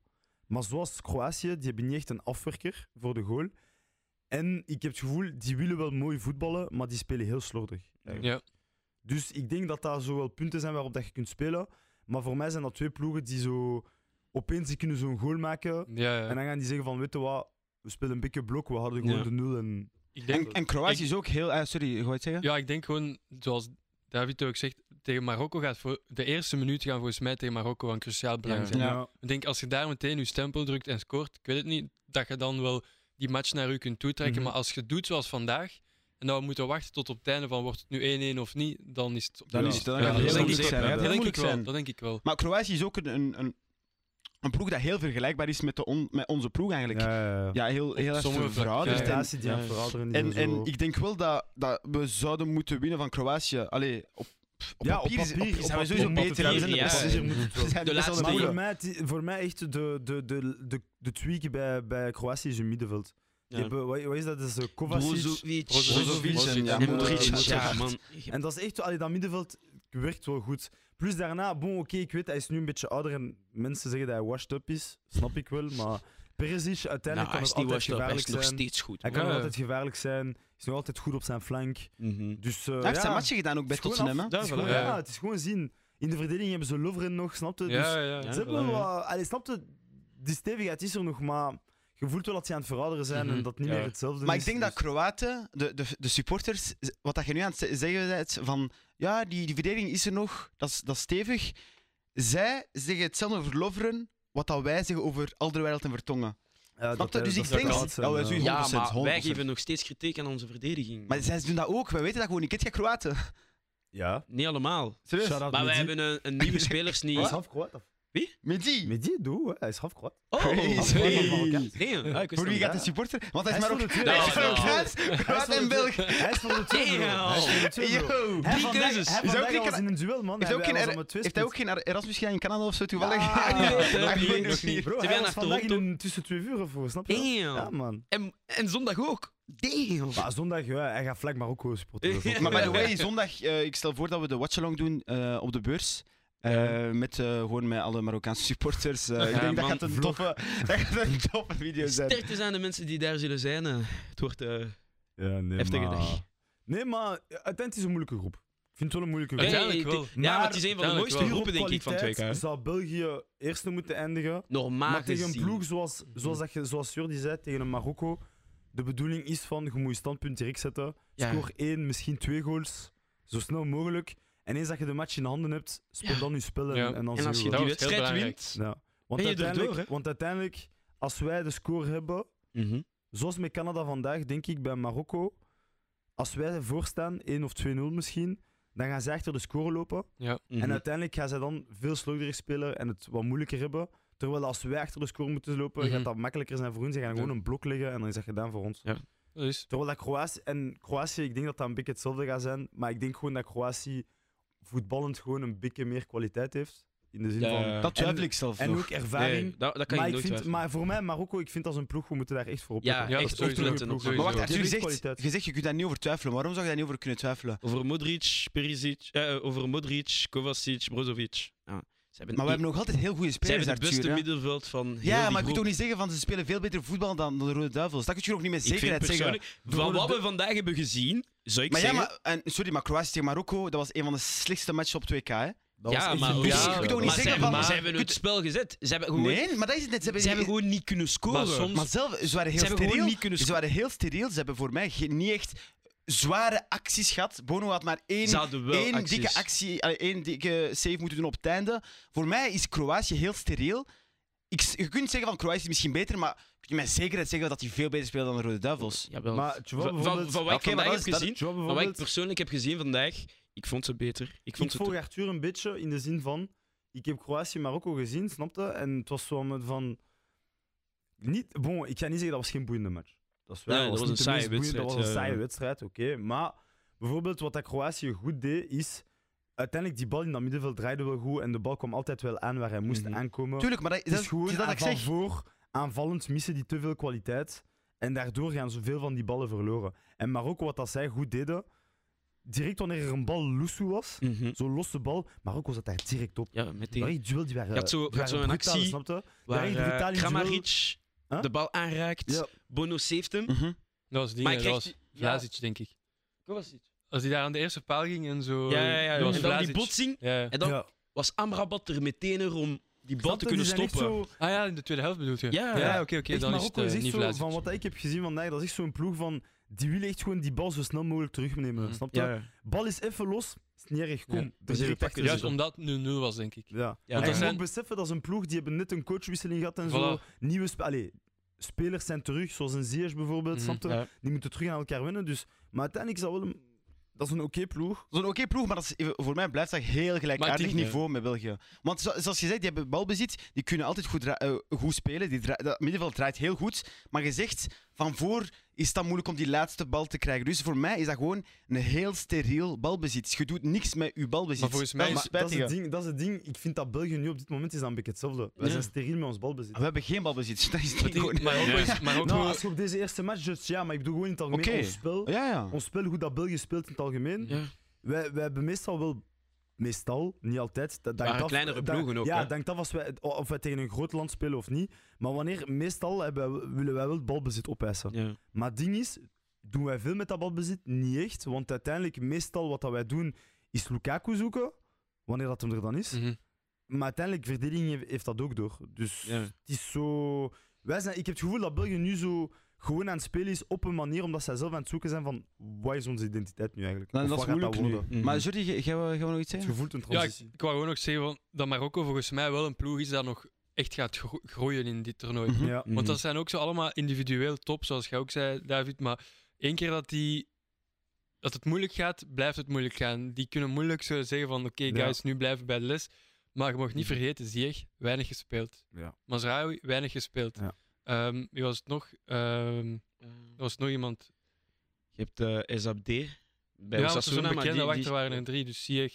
B: Maar zoals Kroatië, die hebben niet echt een afwerker voor de goal. En ik heb het gevoel, die willen wel mooi voetballen, maar die spelen heel slordig. eigenlijk.
D: Ja.
B: Dus ik denk dat daar zo wel punten zijn waarop dat je kunt spelen. Maar voor mij zijn dat twee ploegen die zo opeens die kunnen zo'n goal maken.
D: Ja,
B: En
D: ja.
B: dan gaan die zeggen van, weet je wat, we spelen een beetje blok, we houden gewoon
C: Ja.
B: de nul. En...
D: Ik
A: En,
D: denk,
A: en Kroatië is ook heel... eh, sorry, ik je het zeggen?
D: ja, ik denk gewoon, zoals David ook zegt, tegen Marokko gaat voor de eerste minuut gaan volgens mij tegen Marokko van cruciaal belang
C: Ja.
D: zijn.
A: Ja.
D: Ik denk, als je daar meteen je stempel drukt en scoort, ik weet het niet, dat je dan wel die match naar u kunt toetrekken.
B: Mhm.
D: Maar als je het doet zoals vandaag, en dan we moeten wachten tot op het einde van wordt het nu 1-1 of niet, dan is het...
A: Dan
B: Ja.
A: is het, dan
D: Ja,
A: gaat het
D: dat
A: heel
D: denk ik
A: moeilijk zijn.
B: ook,
A: hè. Het
B: ja.
D: dat,
A: gaat heel
D: denk ik
A: moeilijk
D: wel,
A: zijn.
D: dat denk ik wel.
A: Maar Kroatië is ook een, een, een, een ploeg dat heel vergelijkbaar is met de on- met onze ploeg eigenlijk. Ja, heel, heel erg
D: sommige
A: verouderd.
D: vlakken, ja.
A: En,
B: prestatie die aan
D: ja.
B: het verouderen is.
A: en, en
B: zo.
A: ik denk wel dat, dat we zouden moeten winnen van Kroatië. Allee, op, op
B: ja,
A: papier,
B: op
A: is-
B: papier,
A: op- zijn we
B: op
A: sowieso
B: papier,
A: beter. hè. We zijn de
C: ja.
A: beste.
B: Papier moet het wel.
A: We zijn de
C: De
A: beste
C: laatste
A: van de
B: Maar voor
C: Tuurlijk.
A: wereld.
B: mij, het i- voor mij echt de, de, de, de, de, tweak bij, bij Kroatië is hun middenveld. Die
C: Ja.
B: hebben, wat, wat is dat? Dat is eh, Kovacic.
C: Brozovic.
D: Brozovic.
A: Brozovic en ja,
C: En
B: Modric.
C: Modric, ja,
A: Modric.
C: man.
B: En dat is echt, allee, dat middenveld werkt wel goed. Plus daarna, bon, oké, ik weet, hij is nu een beetje ouder en mensen zeggen dat hij washed up is. Snap ik wel, maar Perisic
C: Nou,
B: uiteindelijk
C: hij
B: kan
C: is
B: het altijd
C: niet washed up, hij
B: gevaarlijk
C: is nog
B: zijn.
C: steeds goed.
B: Hij kan
D: Ja,
B: nog
D: ja.
B: altijd gevaarlijk zijn, is nog altijd goed op zijn flank.
C: Mhm.
B: Dus, eh,
A: Hij heeft
B: ja.
A: zijn matje gedaan ook bij
B: Het is gewoon
A: Tottenham.
B: af-
A: hè.
B: het is
C: Ja,
B: gewoon-
D: voilà.
B: Ja, het is gewoon zien. In de verdediging hebben ze Lovren nog, snapte? Dus
D: Ja, ja,
C: Ja.
B: ze hebben
C: voilà,
B: wel... Allee, snapte? Die stevigheid is er nog, maar je voelt wel dat ze aan het verouderen zijn
D: Mhm.
B: en dat het niet
D: Ja.
B: meer hetzelfde
A: Maar
B: is.
A: ik denk dat
B: dus-
A: Kroaten, de, de, de supporters, wat dat je nu aan het ze- zeggen bent, van ja, die, die verdediging is er nog, dat is, dat is stevig. Zij zeggen hetzelfde over Lovren, wat dat wij zeggen over Alderweireld en Vertongen.
B: Ja, dat
A: Snap je?
B: hij-
A: Dus
B: dat
A: ik
B: hij
A: denk-
B: koud zijn,
A: Ja, wij
B: eh.
A: zullen-
C: Ja,
A: 100%,
C: maar wij
A: 100%.
C: geven nog steeds kritiek aan onze verdediging.
A: Maar zij doen dat ook, wij weten dat gewoon niet. Kent jij Kroaten?
B: Ja.
C: Niet allemaal.
A: Serieus?
B: Shout-out
C: Maar wij
B: Medi.
C: hebben een, een nieuwe spelers
B: Hij
C: niet.
B: is half Kroat, of-
A: Mehdi.
B: Mais dis, doe, hè. hij is halfkwad.
C: Oh,
A: Crazy.
C: Damn. Ah,
A: Voor
C: ik wist dat
A: wie
C: niet.
A: gaat de supporter? Want hij is
B: Hij is
A: Marokkaans. Hij is
B: van de
C: Tweede.
A: Marokkaans, Kroaat en Belg.
B: Hij is van de twee, bro. Hij is van de twee, bro.
A: Yo.
B: Hij
C: Drie
B: Van Dijk-
C: keuzes.
B: Hij
A: Is
B: Van
A: ook
B: Dijk
A: geen-
B: was in een duel, man.
A: Heeft hij ook geen
B: was
A: Er-
B: aan het
A: heeft hij ook
B: twisten.
A: geen Er- Erasmus gedaan in Canada of zo? Toevallig.
B: Ja. Nee,
C: dat heb
A: Ah,
C: ik
A: ik ben
C: nog
A: dus
C: niet.
A: hier.
C: Ze
B: Bro, hij
C: zijn
B: was
C: naar
B: vandaag in
C: Toronto.
B: een tussen twee uren voor, snap je? wel? Ja,
C: Damn.
B: man.
C: En, en zondag ook. Damn.
B: Maar zondag, ja, hij gaat vlak Marokko supporteren.
C: Ja.
A: Maar by the way, zondag, eh, ik stel voor dat we de watchalong doen eh, op de beurs. Eh, met, eh, gewoon met alle Marokkaanse supporters. Eh, ik
C: Ja,
A: denk
C: man,
A: dat gaat, een
B: vlog.
A: toffe, dat gaat een toffe video zijn.
C: Sterkte zijn de mensen die daar zullen zijn. eh. Het wordt eh,
B: Ja, nee,
C: heftige
B: maar...
C: dag.
B: Nee, maar uiteindelijk is het een moeilijke groep. Ik vind het wel een moeilijke groep.
C: Hey,
D: Uiteindelijk wel.
C: die- Ja,
B: Maar
C: maar het is een van de
D: uiteindelijk
C: mooiste
D: wel.
B: Puur op
C: groepen, denk ik, van 2K.
B: kwaliteit zou België eerste moeten eindigen.
C: Normaal
B: Maar tegen een
C: gezien.
B: ploeg zoals, zoals, dat je, zoals Jordi zei, tegen een Marokko. De bedoeling is van, je moet je standpunt direct zetten.
C: Ja.
B: Scoor één, misschien twee goals. Zo snel mogelijk. En eens dat je de match in handen hebt, speel
C: Ja.
B: dan je spel en,
D: Ja.
B: en dan
C: En als
B: zien
C: je
B: we
D: Dat
B: wel.
D: was heel
C: die wedstrijd
D: belangrijk.
C: wint...
B: Ja. Want,
C: Ben je erdoor,
B: uiteindelijk,
C: hè?
B: want uiteindelijk, als wij de score hebben,
C: Mhm.
B: zoals met Canada vandaag, denk ik bij Marokko. Als wij voorstaan, 1 of 2-0 misschien, dan gaan zij achter de score lopen.
D: Ja.
C: Mhm.
B: En uiteindelijk gaan zij dan veel slordiger spelen en het wat moeilijker hebben. Terwijl als wij achter de score moeten lopen,
D: Mhm.
B: gaat dat makkelijker zijn voor hun. Ze gaan gewoon een blok leggen en dan is dat gedaan voor ons.
D: Dat is
B: Terwijl dat Kroatië, en Kroatië, ik denk dat dat een beetje hetzelfde gaat zijn. Maar ik denk gewoon dat Kroatië voetballend gewoon een beetje meer kwaliteit heeft. In de zin van...
C: Ja.
A: Dat
B: En-
A: twijfel ik zelf
B: En
A: nog.
B: ook ervaring.
C: Nee, dat, dat
B: maar, ik
C: kan je nooit
B: vind,
C: twijfelen.
B: maar voor mij, Marokko, ik vind als een ploeg, we moeten daar echt voor op.
D: Ja,
C: Ja, echt
D: dat is
C: opletten.
D: sowieso. Maar
C: op
A: Maar
C: sowieso.
A: wacht,
B: Sowieso.
A: Arthur, je
B: Die
A: zegt,
B: kwaliteit.
A: je zegt, je kunt daar niet over twijfelen. Waarom zou je daar niet over kunnen twijfelen?
C: Over Modric, Perisic, eh, over Modric, Kovacic, Brozovic. Ja. Ze hebben,
A: Maar we
C: i-
A: hebben nog altijd heel goede
C: ze
A: spelers,
C: hebben het
A: Arthur.
C: beste
A: hè?
C: middenveld van heel
A: Ja,
C: die
A: maar je kunt
C: groep.
A: ook niet zeggen van ze spelen veel beter voetbal dan de Rode Duivels. Dat kun je nog niet met
C: Ik vind
A: zekerheid zeggen.
C: persoonlijk, Van wat we vandaag hebben gezien, zou ik
A: Maar ja,
C: zeggen...
A: maar, en, sorry, maar Kroatië tegen Marokko, dat was een van de slechtste matchen op 2K. Hè?
B: Dat was
C: ja,
B: echt
C: maar,
B: een
A: Dus
B: beetje-
A: je kunt ook niet
C: maar
A: zeggen
C: ze,
A: van-
C: maar ze
A: maar-
C: hebben het spel gezet. Ze hebben gewoon,
A: Nee, maar dat is het net. Ze hebben,
C: ze hebben gewoon niet kunnen
D: Maar
C: scoren.
D: soms-
A: Maar zelf, ze waren heel
C: Ze hebben
A: steriel.
C: gewoon niet kunnen
A: Ze waren heel steriel. Ze hebben voor mij geen, niet echt zware acties gehad. Bono had maar één,
C: ze hadden wel
A: één
C: acties.
A: dikke actie, allee, één dikke save moeten doen op het einde. Voor mij is Kroatië heel steriel. Ik, s- je kunt zeggen van Kroatië is misschien beter, maar kun je met zekerheid zeggen dat hij veel beter speelt dan de Rode Duivels?
C: Jawel.
B: Maar Tjoua
C: van, van,
B: bijvoorbeeld-
C: van wat ik
A: Oké, maar
C: vandaag
A: dat
C: heb
A: is- dat-
C: gezien,
B: Tjoua
C: van wat ik
B: bijvoorbeeld-
C: persoonlijk heb gezien vandaag, ik vond ze beter. Ik
B: Ik
C: vond ze
B: volg Arthur een beetje in de zin van. Ik heb Kroatië Marokko gezien, snapte? En het was zo met van. Niet, bon, ik ga niet zeggen dat was geen boeiende match. Dat, is wel,
C: Nee,
B: dat
C: dat was
B: niet de
C: een
B: meest
C: saaie
B: boeiende- Dat was een
C: wedstrijd, ja.
B: saaie wedstrijd, oké. Maar bijvoorbeeld wat dat Kroatië goed deed is. Uiteindelijk die bal in dat middenveld draaide wel goed en de bal kwam altijd wel aan waar hij moest
C: Mhm.
B: aankomen.
A: Tuurlijk, maar dat,
B: het
A: dat
B: is gewoon
A: het is dat ik
B: aan
A: zeg.
B: van voor aanvallend missen die te veel kwaliteit en daardoor gaan zoveel van die ballen verloren. En Marokko wat dat zij goed deden, direct wanneer er een bal loesoe was,
C: het... Mhm.
B: Zo'n losse bal. Marokko zat daar direct op.
C: Ja,
B: Die
C: meteen.
B: waren duel, die waren,
C: Je had zo-
B: die
C: je had
B: waren
C: zo'n
B: brutaal,
C: actie
B: snap je?
C: Waar
B: echt
C: eh,
B: brutaal in
C: Kramaric
B: Huh?
C: de bal aanraakt,
B: Ja.
C: Bono saved hem.
A: Mhm.
D: Dat was die,
C: Maar
D: hè,
C: ik
D: dat
C: kreeg
D: was
C: die- ja.
D: Vlasic, denk ik.
C: Kovacic.
D: Als die daar aan de eerste paal ging en zo...
C: Ja, ja, ja.
D: Dat was
C: En dan die
D: Vlasic.
C: botsing.
D: Ja, ja.
C: En dan
B: Ja.
C: was Amrabat er meteen er om die bal
B: Snap
C: te
B: je? Die
C: kunnen
B: zijn echt
C: stoppen.
B: zo-
D: Ah ja, in de tweede helft bedoelt je?
C: Ja.
D: ja oké, oké.
B: echt
D: dan is het
B: Marokko
D: eh,
B: is echt
D: niet
B: zo,
D: Vlasic.
B: van wat ik heb gezien vandaag, dat is echt zo'n ploeg van... Die willen echt gewoon die bal zo snel mogelijk terugnemen,
D: Mhm.
B: snap je?
C: Ja,
B: Bal is even los, is niet erg, kom.
D: Ja.
B: er
C: We zullen
B: direct achter
D: Juist
B: zitten.
D: omdat het 0-0 was, denk ik.
B: Ja.
C: Ja,
B: en
D: dat
B: je moet
D: zijn-
B: ook beseffen, dat is een ploeg, die hebben net een coachwisseling gehad en zo.
D: Voilà.
B: Nieuwe sp Allee, spelers zijn terug, zoals een Ziyech bijvoorbeeld,
D: Mhm.
B: snap je? Die moeten terug aan elkaar winnen, dus... Maar uiteindelijk is dat wel een... Dat is een oké ploeg.
A: Zo'n oké ploeg, maar dat is, voor mij blijft dat heel gelijkaardig
D: denk-
A: niveau met België. Want zo- zoals je zegt, die hebben balbezit, die kunnen altijd goed, dra- eh, goed spelen. Die dra- dat middenveld draait heel goed. Maar je zegt, van voor is dat moeilijk om die laatste bal te krijgen. Dus voor mij is dat gewoon een heel steriel balbezit. Je doet niks met je balbezit.
D: Maar volgens mij
A: dat is
D: is-
A: het
B: Maar dat is,
A: spijtige.
B: het ding, dat is het ding. Ik vind dat België nu op dit moment is dat een beetje hetzelfde. Wij
C: Ja.
B: zijn steriel met ons balbezit.
A: We hebben geen balbezit. Dat is het
D: Maar
A: ding
D: die-
A: gewoon...
D: Marokko is... Marokko...
B: Nou, als je op deze eerste match judge, ja, maar ik bedoel gewoon in het algemeen
A: Oké.
B: ons spel.
A: Ja, ja.
B: Ons spel, hoe dat België speelt in het algemeen.
C: Ja.
B: Wij, wij hebben meestal wel... Meestal, niet altijd. Dat, dankt
C: waren
B: af-
C: kleinere
B: dat-
C: ploegen ook,
B: Ja,
C: hè?
B: dankt af als wij, of wij tegen een groot land spelen of niet. Maar wanneer, meestal hebben wij- willen wij wel het balbezit opeisen.
C: Ja.
B: Maar het ding is, doen wij veel met dat balbezit? Niet echt. Want uiteindelijk, meestal wat dat wij doen, is Lukaku zoeken. Wanneer dat hem er dan is.
D: Mhm.
B: Maar uiteindelijk, verdediging heeft, heeft dat ook door. Dus
C: Ja.
B: het is zo... Wij zijn, ik heb het gevoel dat België nu zo gewoon aan het spelen is op een manier omdat zij zelf aan het zoeken zijn van wat is onze identiteit nu eigenlijk?
A: Dan,
B: Of
A: dat is
B: wat gaat
A: moeilijk nu.
B: worden?
C: Mhm.
A: Maar Jordi, ga- gaan we, gaan we nog iets
B: Het
A: zeggen?
B: gevoel een
D: Ja, ik,
B: transitie.
D: ik wou gewoon nog zeggen van, dat Marokko volgens mij wel een ploeg is dat nog echt gaat gro- groeien in dit toernooi.
A: Mhm.
B: Ja.
C: Mhm.
D: Want dat zijn ook zo allemaal individueel top, zoals jij ook zei, David. Maar één keer dat, die, dat het moeilijk gaat, blijft het moeilijk gaan. Die kunnen moeilijk zo zeggen van, oké
B: Ja. Mhm.
D: guys, nu blijven we bij de les. Maar je mag niet vergeten, Ziyech, weinig gespeeld.
B: Ja.
D: Mazraoui, weinig gespeeld.
B: Ja.
D: Ehm, wie was het nog? Ehm, er was nog iemand.
C: Je hebt eh Ezab D. Bij
D: ja, want er
C: Osasuna,
D: zo'n
C: maar die,
D: bekende
C: die-
D: wachter waren er drie, dus Ziyech.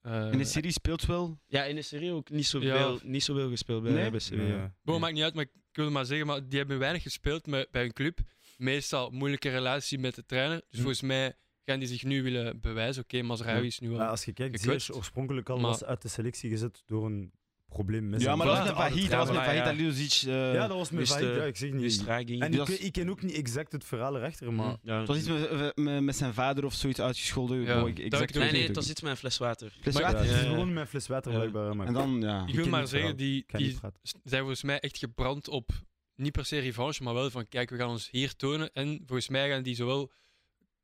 D: eh,
A: En de serie speelt wel.
C: Ja, in de serie ook niet
D: Ja.
C: zoveel, niet zoveel gespeeld bij,
A: Nee?
C: bij Sevilla.
B: Nee.
D: Bon, maakt niet uit, maar ik wil maar zeggen, maar die hebben weinig gespeeld met, bij hun club. Meestal moeilijke relatie met de trainer. Dus
B: Hm.
D: volgens mij gaan die zich nu willen bewijzen. Oké, Mazraoui is nu al...
B: Maar als je kijkt,
D: Gekwetst.
B: Ziyech oorspronkelijk al
D: Maar-
B: was uit de selectie gezet door een probleem met
A: Ja,
B: zijn
A: maar dat
D: voilà.
A: was met
B: vader.
A: Vahid. Dat was eh, met
D: Ja,
A: Vahid
D: ja.
A: Alilusic.
B: Ja,
A: Ja,
B: dat was met
C: dus
B: Vahid.
C: de-
B: Ja, ik zeg
C: dus
B: niet.
C: Draghi.
B: En
A: die
B: ik,
A: was-
B: ik ken ook niet exact het verhaal erachter,
A: Hm.
B: maar...
C: Ja.
A: het was iets met, met, met zijn vader of zoiets uitgescholden.
D: Ja,
A: Wow, ik,
D: dat
A: exact
D: weet
C: Nee,
D: ik
C: nee,
A: weet
C: het was
A: ik
C: iets met een fles water.
A: niet. Fles
D: Maar-
B: Ja, het
A: water.
B: is
D: Eh,
B: gewoon mijn fles water
C: ja.
B: blijkbaar. maar
A: En dan, ja.
D: Ik
B: ken
D: wil maar
B: het verhaal.
D: zeggen, die,
B: Ik kan
D: die
B: niet praten.
D: zijn volgens mij echt gebrand op, niet per se revanche, maar wel van kijk, we gaan ons hier tonen. En volgens mij gaan die zowel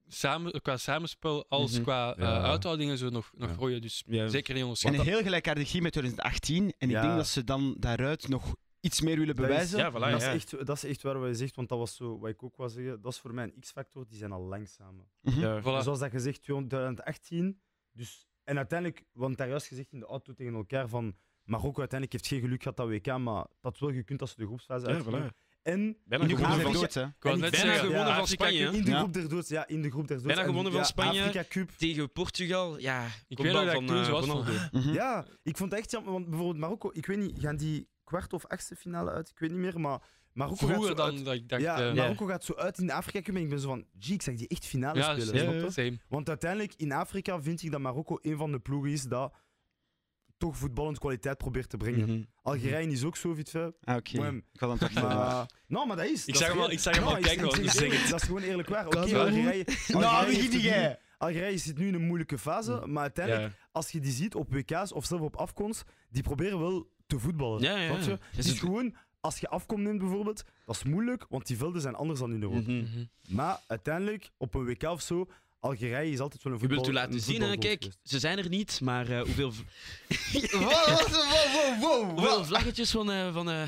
D: samen, qua samenspel als
C: Mhm.
D: qua eh,
B: Ja.
D: uithouding en zo nog, nog
B: Ja.
D: groeien. Dus
C: Ja.
D: zeker niet onderschatten.
A: En een heel gelijkaardig ging met 2018. En ik
B: Ja.
A: denk dat ze dan daaruit nog iets meer willen
B: Dat is-
A: bewijzen.
C: Ja, voilà,
B: dat,
C: ja.
B: Is echt, dat is echt waar wat je zegt, want dat was zo, wat ik ook wou zeggen, dat is voor mij een x-factor, die zijn al langzamer.
A: Mhm.
C: Ja.
D: Voilà.
B: Zoals dat gezegd, 2018. Dus, en uiteindelijk, want daar juist gezegd in de auto tegen elkaar van Marokko uiteindelijk heeft geen geluk gehad dat WK, maar dat wel gekund als ze de groepsfase
C: Ja,
B: uitkomen. En
C: Bijna
A: Nu
C: gewonnen
A: gaan
B: Afrika-
A: ze
C: van,
A: dood, hè.
D: Ik wou
B: En
D: net
B: ik-
D: zeggen,
B: Bijna
D: ja,
B: gewonnen van
D: Afrika
C: Spanje,
D: Cup.
C: hè?
B: in de
A: Ja.
B: groep der doods, ja, in de groep der doods.
C: Bijna
B: En
C: gewonnen
B: ja,
C: van Spanje.
B: Afrika Cup.
C: tegen Portugal. Ja,
D: Ik
C: kopbal
D: weet nog dat ik
C: van,
D: toen
C: eh,
D: zo was van,
C: Ronaldo.
A: Mhm.
B: Ja, ik vond het echt jammer, want bijvoorbeeld Marokko, ik weet niet, gaan die kwart of achtste finale uit? Ik weet niet meer, maar Marokko gaat zo
D: vroeger
B: uit-
D: dan dat ik dacht.
B: ja,
D: eh,
B: Marokko gaat zo uit in de Afrika Cup en ik ben zo van, gee, ik zag die echt finale
D: ja,
B: spelen.
D: same,
B: snap je?
D: same.
B: Want uiteindelijk in Afrika vind ik dat Marokko een van de ploegen is dat toch voetballend kwaliteit probeert te brengen.
C: Mhm.
B: Algerije is ook zo, vind je.
A: Ah, oké.
B: Mwem.
A: Ik had hem toch gedaan.
B: Maar... Nou, maar dat is.
D: Ik
B: dat
D: zag
B: is
D: hem al-
B: gewoon-
D: ik zag hem
B: Nou,
D: al kijken,
B: ik
D: want
B: zeg
D: ik zeg
B: eerlijk, Dat is gewoon eerlijk waar. Oké,
D: is wel goed.
B: Algerije,
A: Nou,
B: Algerije
A: wie
B: heeft
A: die
B: het nu-
A: jij?
B: Algerije zit nu in een moeilijke fase, maar uiteindelijk,
C: Ja.
B: als je die ziet op WK's of zelf op afkomst, die proberen wel te voetballen.
C: Ja, ja,
B: snap je?
C: ja.
B: Het is gewoon, als je afkom neemt bijvoorbeeld, dat is moeilijk, want die velden zijn anders dan in Europa.
C: Mhm.
D: Mhm.
B: Maar uiteindelijk, op een WK of zo, Algerije is altijd wel een
C: Je
B: voetbal.
C: wilt u laten
B: een dus.
C: zien, hè?
B: voetbalvolk
C: Kijk,
B: geweest.
C: ze zijn er niet, maar eh, hoeveel,
A: Wow, wow, wow,
C: hoeveel vlaggetjes van... eh van eh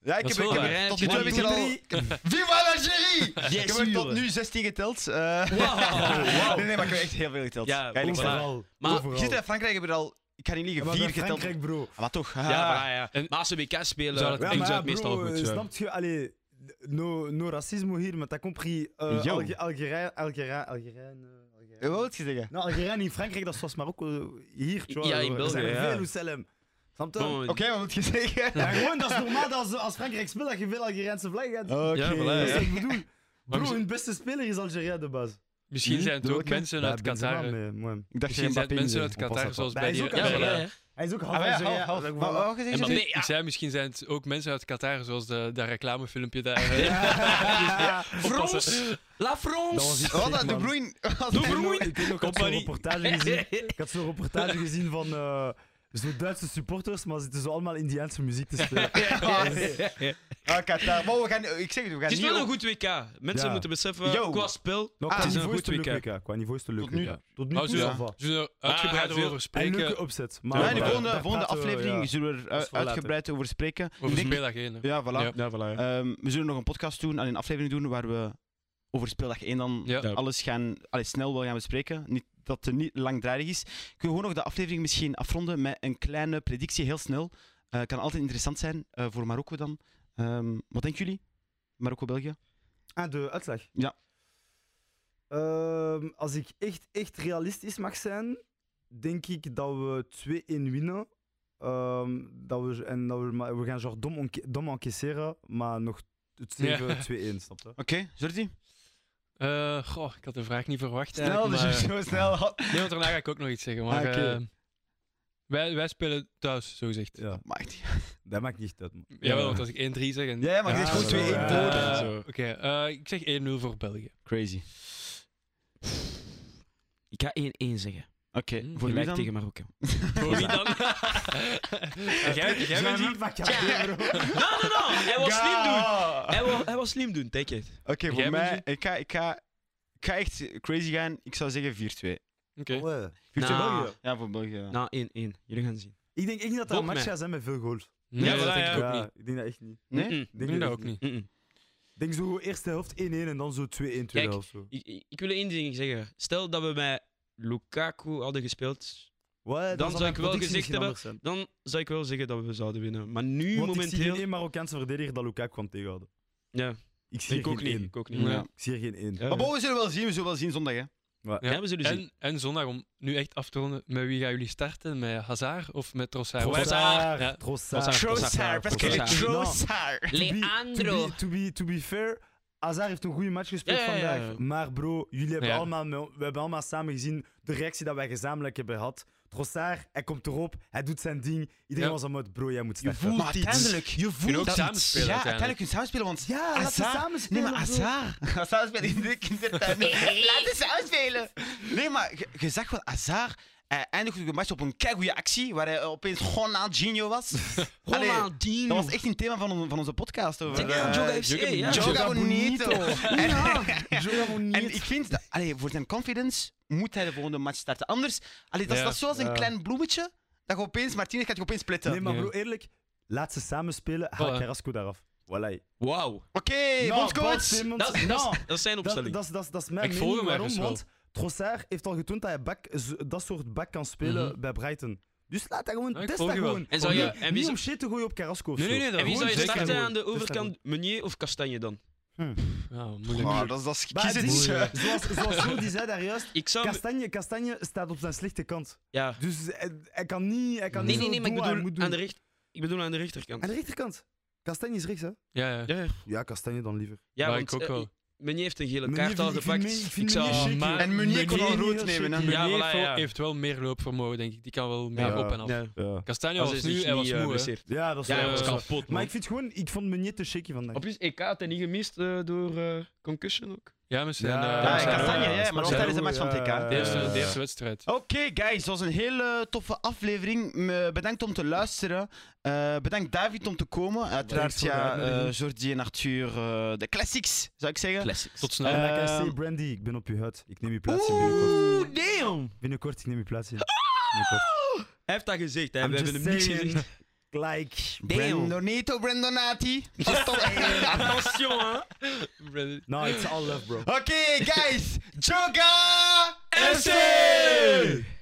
A: Ja, ik
D: Dat
A: heb
D: is wel waar.
A: ik-
C: Tot
A: tot
C: nu
A: nu
C: toe
A: toe
C: heb
A: heb
C: ik
A: ik
C: er
A: er
C: al-
A: al... Viva l'Algérie! Ik heb er tot nu 16 geteld. eh.
C: Oh, Wauw.
A: Nee, nee, maar ik heb echt heel veel geteld.
C: Ja,
A: Ga je niks
C: voilà.
A: zeggen.
B: Overal.
C: Maar-
B: overal.
A: Je ziet, in Frankrijk hebben we er al, ik ga niet
B: Ja,
A: liegen,
B: maar bij
A: vier geteld.
B: Frankrijk, bro.
A: Ah, Maar toch, haha.
C: Ja, ja, ja.
D: En-
C: Maar als ze WK spelen,
D: Zou dat
C: dan
D: Ja,
C: doen ze
D: maar
C: het meestal
B: bro,
C: goed.
B: eh,
C: ja.
B: Snap je? Allee, no, no racisme hier, maar t'as compris. eh
A: Yo.
B: Alge- Algerijn, Algerijn, Algerijn. eh, Algerijn.
A: Wat wil je zeggen?
B: Nou, Algerijn in Frankrijk, dat is zoals Marokko eh, hier. tu vois,
C: Ja, in
B: we
C: België,
B: zijn
C: ja.
B: veel Oeselem. Snap je?
C: Bon,
A: Oké, wat moet je zeggen?
B: Ja, gewoon, dat is normaal dat als, als Frankrijk speelt, dat je veel Algerijnse vlaggen hebt.
A: Oké.
C: Ja, voilà,
B: Dat is
C: ja.
B: wat ik bedoel.
D: Maar
B: Bro,
D: misschien-
B: hun beste speler is Algerijn de baas.
D: Misschien
A: Hm?
D: zijn het
A: Doe
D: ook
A: ik hem?
D: mensen uit Qatar. hè.
A: Ik dacht
D: Misschien zijn het Dus mensen uit
B: Pas
D: Qatar,
B: op.
D: zoals
B: Hij
D: bij
B: is
D: die...
B: ook
D: Ja,
C: Ja,
B: uit-
D: voilà.
C: voilà, ja.
B: Hij is ook half
A: Ah, ja,
B: Algerijn.
A: half, half.
B: dat is ook
A: Wat-
B: wel-
A: wat
D: En
A: gezegd?
D: maar
A: je?
C: nee, ja.
D: ik zei, misschien zijn het ook mensen uit Qatar, zoals de, dat reclamefilmpje daar. eh,
C: France! La
B: Dat was
C: France!
B: iets
A: Wat,
B: gek,
A: De
B: man.
A: Bruyne?
B: Ik heb nog-
C: broer.
B: Ik heb nog ik had zo'n
D: Compagnie.
B: reportage gezien. Ik had zo'n reportage gezien van eh zo Duitse supporters, maar zitten zo allemaal Indiaanse muziek te spelen.
A: Ah, Qatar. Maar we gaan, ik zeg het, we gaan
C: Het is
A: niet
C: wel een
A: op-
C: goed WK. Mensen
B: Ja.
C: moeten beseffen,
A: Yo.
C: qua spel,
B: Nou,
A: Ah,
B: qua
A: het
C: is een
B: niveau is het
C: goed
B: een
C: weekend.
B: leuk WK. Qua niveau is het een leuk
A: Tot nu.
B: WK. Tot nu
D: Maar
B: toe,
D: zo-
B: ça va.
D: Zullen we er
C: Ah,
D: uitgebreid
C: daarover.
D: over
B: En
D: spreken?
B: leuke opzet. Maar
A: Ja,
C: Ja,
A: in de
C: daar-
A: volgende,
B: daar
A: volgende
B: praten we,
A: aflevering
B: eh, ja.
A: zullen we er
B: Dat
A: eh,
B: is voor later.
A: uitgebreid over spreken.
D: Over
A: Ik denk-
D: speeldag heen. hè.
A: Ja, voilà.
D: Ja.
C: Ja, voilà. ja.
A: Ehm, we zullen nog een podcast doen, allee, een aflevering doen waar we over speeldag 1 dan
D: Ja.
C: Ja.
A: alles gaan, allee, snel wel gaan bespreken. Niet dat het niet langdradig is. Kunnen we gewoon nog de aflevering misschien afronden met een kleine predictie, heel snel. Eh, kan altijd interessant zijn eh, voor Marokko dan. Ehm, wat denken jullie? Marokko-België?
B: Ah, de uitslag?
A: Ja.
B: Ehm, als ik echt, echt realistisch mag zijn, denk ik dat we 2-1 winnen. Ehm, dat we, en dat we, maar we gaan genre dom, onke- dom encaisseren, maar nog het zeven
D: Ja.
B: 2-1, snap je?
A: Oké, Jordi?
D: Eh, goh, ik had de vraag niet verwacht.
A: Snel,
D: eigenlijk,
A: dus
D: maar-
A: zo snel.
D: Nee, want daarna ga ik ook nog iets zeggen. Maar,
A: Ah, oké.
D: eh, wij, wij spelen thuis, zo gezegd.
B: Ja,
A: Maakt niet.
B: dat maakt niet uit, man.
D: Jawel, want als ik 1-3 zeg... En...
A: Ja, ja, maar ik
B: Ah,
A: deed gewoon
B: zo,
A: 2-1
B: ja.
A: voor.
B: Eh,
A: en
D: Eh,
A: zo.
D: Oké, eh, ik zeg 1-0 voor België.
A: Crazy.
C: Ik ga 1-1 zeggen.
A: Oké,
D: Hm,
A: voor wie
C: Gelijk
A: dan?
C: tegen Marokko.
D: Voor wie dan?
B: Eh,
D: jij jij bent niet...
B: maar ja, bro.
C: No, no, no! Hij wil slim doen!
A: Ja.
C: Hij wil, hij wil slim doen, take it.
A: Oké,
D: Jij,
A: voor mij,
D: Benji?
A: ik ga, ik, ga, ik ga echt crazy gaan. Ik zou zeggen 4-2. 4-2
D: Oké.
B: Allee.
C: Nou.
A: België? Ja, voor België. ja.
C: Nou, 1-1. Jullie gaan zien.
B: Ik denk echt niet dat dat een
C: Volg
B: match
C: mij.
B: gaat zijn met veel goals.
D: Nee,
C: Ja,
D: dat
C: voilà,
D: denk ik
C: ja.
D: ook niet.
B: ik denk dat echt niet.
A: Nee?
C: Mm-mm.
D: Ik denk dat ook
B: echt
D: niet.
C: Mm-mm.
B: Denk zo eerste helft 1-1 en dan zo 2-1 tweede
C: Kijk,
B: helft. Zo.
C: Ik, ik- ik wil één ding zeggen. Stel dat we met Lukaku hadden gespeeld,
B: Wat? Dan,
C: zou
B: mijn
C: ik wel
B: predictie
C: gezegd
B: misschien
C: hebben-
B: anders zijn.
C: Dan zou ik wel zeggen dat we zouden winnen. Maar nu
B: Want ik zie
C: momenteel.
B: geen één Marokkaanse verdediger dat Lukaku kan tegenhouden.
C: Ja,
B: Ik zie
C: ik
B: er
C: ook
B: geen
C: niet.
B: één.
C: Ik ook niet.
D: Ja.
C: Ja.
B: Ik zie er geen één.
C: Ja.
A: Maar bon, we zullen wel zien, we zullen wel zien zondag. Hè.
D: Ja.
C: Ja, we zullen zien.
D: En, en zondag, om nu echt af te ronden, met wie gaan jullie starten? Met Hazard of met Trossard?
C: Trossard.
D: Ja.
B: Trossard.
C: Trossard, Pascal
B: To be- To
E: Leandro.
B: be, to be, to be fair, Hazard heeft een goede match gespeeld
C: Ja, ja, ja.
B: vandaag. Maar bro, jullie hebben,
D: Ja.
B: allemaal, we hebben allemaal samen gezien de reactie dat wij gezamenlijk hebben gehad. Trossard, hij komt erop, hij doet zijn ding. Iedereen
D: Ja.
B: was aan het bro, jij moet
A: Je
B: starten.
A: voelt
C: Maar
A: iets.
C: uiteindelijk-
A: je
D: kunnen ook
A: voelt
D: samen
A: iets.
D: spelen
A: Ja,
D: uiteindelijk.
A: uiteindelijk kun je samen spelen, want...
B: Ja, laten we
A: Hazard.
B: samen
A: Nee,
B: spelen.
A: maar
B: bro.
A: Azar. Azar speelt in de kindertijd. Laat eens uitspelen. Nee, maar je- je zag wel Azar. Hij eindigde de match op een keigoede actie, waar hij eh, opeens Ronaldinho was. Allee,
C: Ronaldinho.
A: Dat was echt een thema van, on- van onze podcast. Over,
C: Ja,
A: eh,
C: Joga FC, ja.
A: Joga Bonito. En,
B: Joga Bonito.
A: en ik vind, dat, allee, voor zijn confidence moet hij de volgende match starten. Anders, allee, dat, is-
D: Ja.
A: dat is zoals een
B: Ja.
A: klein bloemetje, dat je opeens, Martinez gaat je opeens pletten.
B: Nee, maar
D: Ja.
B: bro, eerlijk, laat ze samen spelen, haal
D: Voilà.
B: Carrasco daaraf. Voilà.
C: Wauw.
A: Oké,
B: Nou,
A: bondscoach.
B: Dat,
C: Dat, dat,
B: dat,
C: is- dat is zijn
B: dat, Nou,
C: opstelling.
B: dat, is- dat, is- dat is mijn
D: Ik volg
B: mening.
D: hem
B: Waarom?
D: ergens wel.
B: Want Trossard heeft al getoond dat hij back, z- dat soort back kan spelen
D: Mhm.
B: bij Brighton. Dus laat hij gewoon,
D: Ja, ik
B: test
D: volg
B: dat
D: je wel.
B: gewoon.
C: En zou je-
B: Niet-
C: en wie
B: niet
C: zou-
B: om shit te gooien op Carrasco of
D: Nee,
B: zo.
D: nee, nee, dat
C: en wie
D: gewoon
C: zou je
D: zeker.
C: starten aan de
B: Test dat
C: overkant? Meunier of Castanje dan?
D: Ja, moeilijk.
A: Maar Ah, dat is, dat is
B: Maar het
A: kiezen.
B: is-
A: dus, eh,
B: zoals, zoals Joe die zei daar juist,
C: Ik zou...
B: Kastanje, Kastanje staat op zijn slechte kant.
C: Ja.
B: Dus hij, hij kan niet hij kan
C: Nee,
B: niet zo
C: nee, nee, maar ik
B: doen wat hij moet
C: bedoel,
B: doen.
C: aan de recht, ik bedoel aan de rechterkant.
B: Aan de rechterkant. Kastanje is rechts, hè?
D: Ja, ja.
C: Ja, ja.
B: Ja, Kastanje dan liever.
C: ja
D: Maar
C: want,
D: ik ook
C: eh,
D: wel.
C: Meunier heeft een gele
B: Meunier
C: kaart al
B: vind ik- ik vind
C: gepakt.
B: Meunier- ik
C: Ik,
B: vind
C: zou...
B: Meunier chic,
D: maar-
A: En Meunier kon al
B: Meunier
A: rood
B: heel
A: nemen.
B: shaky.
A: hè.
C: Ja,
D: Meunier
C: voilà,
D: heeft wel-
C: ja.
D: heeft wel meer loopvermogen, denk ik. Die kan wel meer
B: Ja.
D: op en af.
C: Ja.
B: Ja,
D: Kastanje
C: Als
D: was
C: is
D: nu,
C: niet,
D: hij was
C: eh,
D: moe. hè.
C: geblesseerd.
B: ja dat is
C: Ja,
B: wel-
C: hij was
B: dat is wel-
C: kapot,
B: Maar
C: man.
B: ik vind gewoon, ik vond Meunier te shaky vandaag.
C: Op plus, EK had hij niet gemist eh, door eh, concussion ook.
D: Ja, misschien.
B: Ja,
D: eh,
A: Ja,
D: zijn-
A: Kastanje, ja,
B: ja,
A: maar
B: ja,
A: nog
D: ja,
A: tijdens de match van
B: ja,
A: TK.
B: ja,
D: De eerste,
B: Eh.
D: de eerste wedstrijd.
A: Oké, guys, dat was een hele toffe aflevering. Me- Bedankt om te luisteren. Eh, bedankt David om te komen. Uiteraard,
B: voor de
A: ja,
B: uitnodiging.
A: eh, Jordi en Arthur, eh, de classics, zou ik zeggen.
C: Classics.
D: Tot snel.
B: En dan kan je
A: Ehm,
B: zeggen, Brandy, ik ben op je huid. Ik neem je plaats in binnenkort.
C: Oeh, damn!
B: Binnenkort, ik neem je plaats in.
A: Ah!
B: Binnenkort.
C: Hij heeft dat gezegd, hè.
B: I'm
C: we hebben
B: just
C: hem niks
B: saying.
C: gezegd.
B: Like,
C: Damn.
A: Brandonito, Brandonati. Oké,
C: Attention, hè.
D: Brandon.
B: no, it's all love, bro.
A: guys, Joga
C: FC!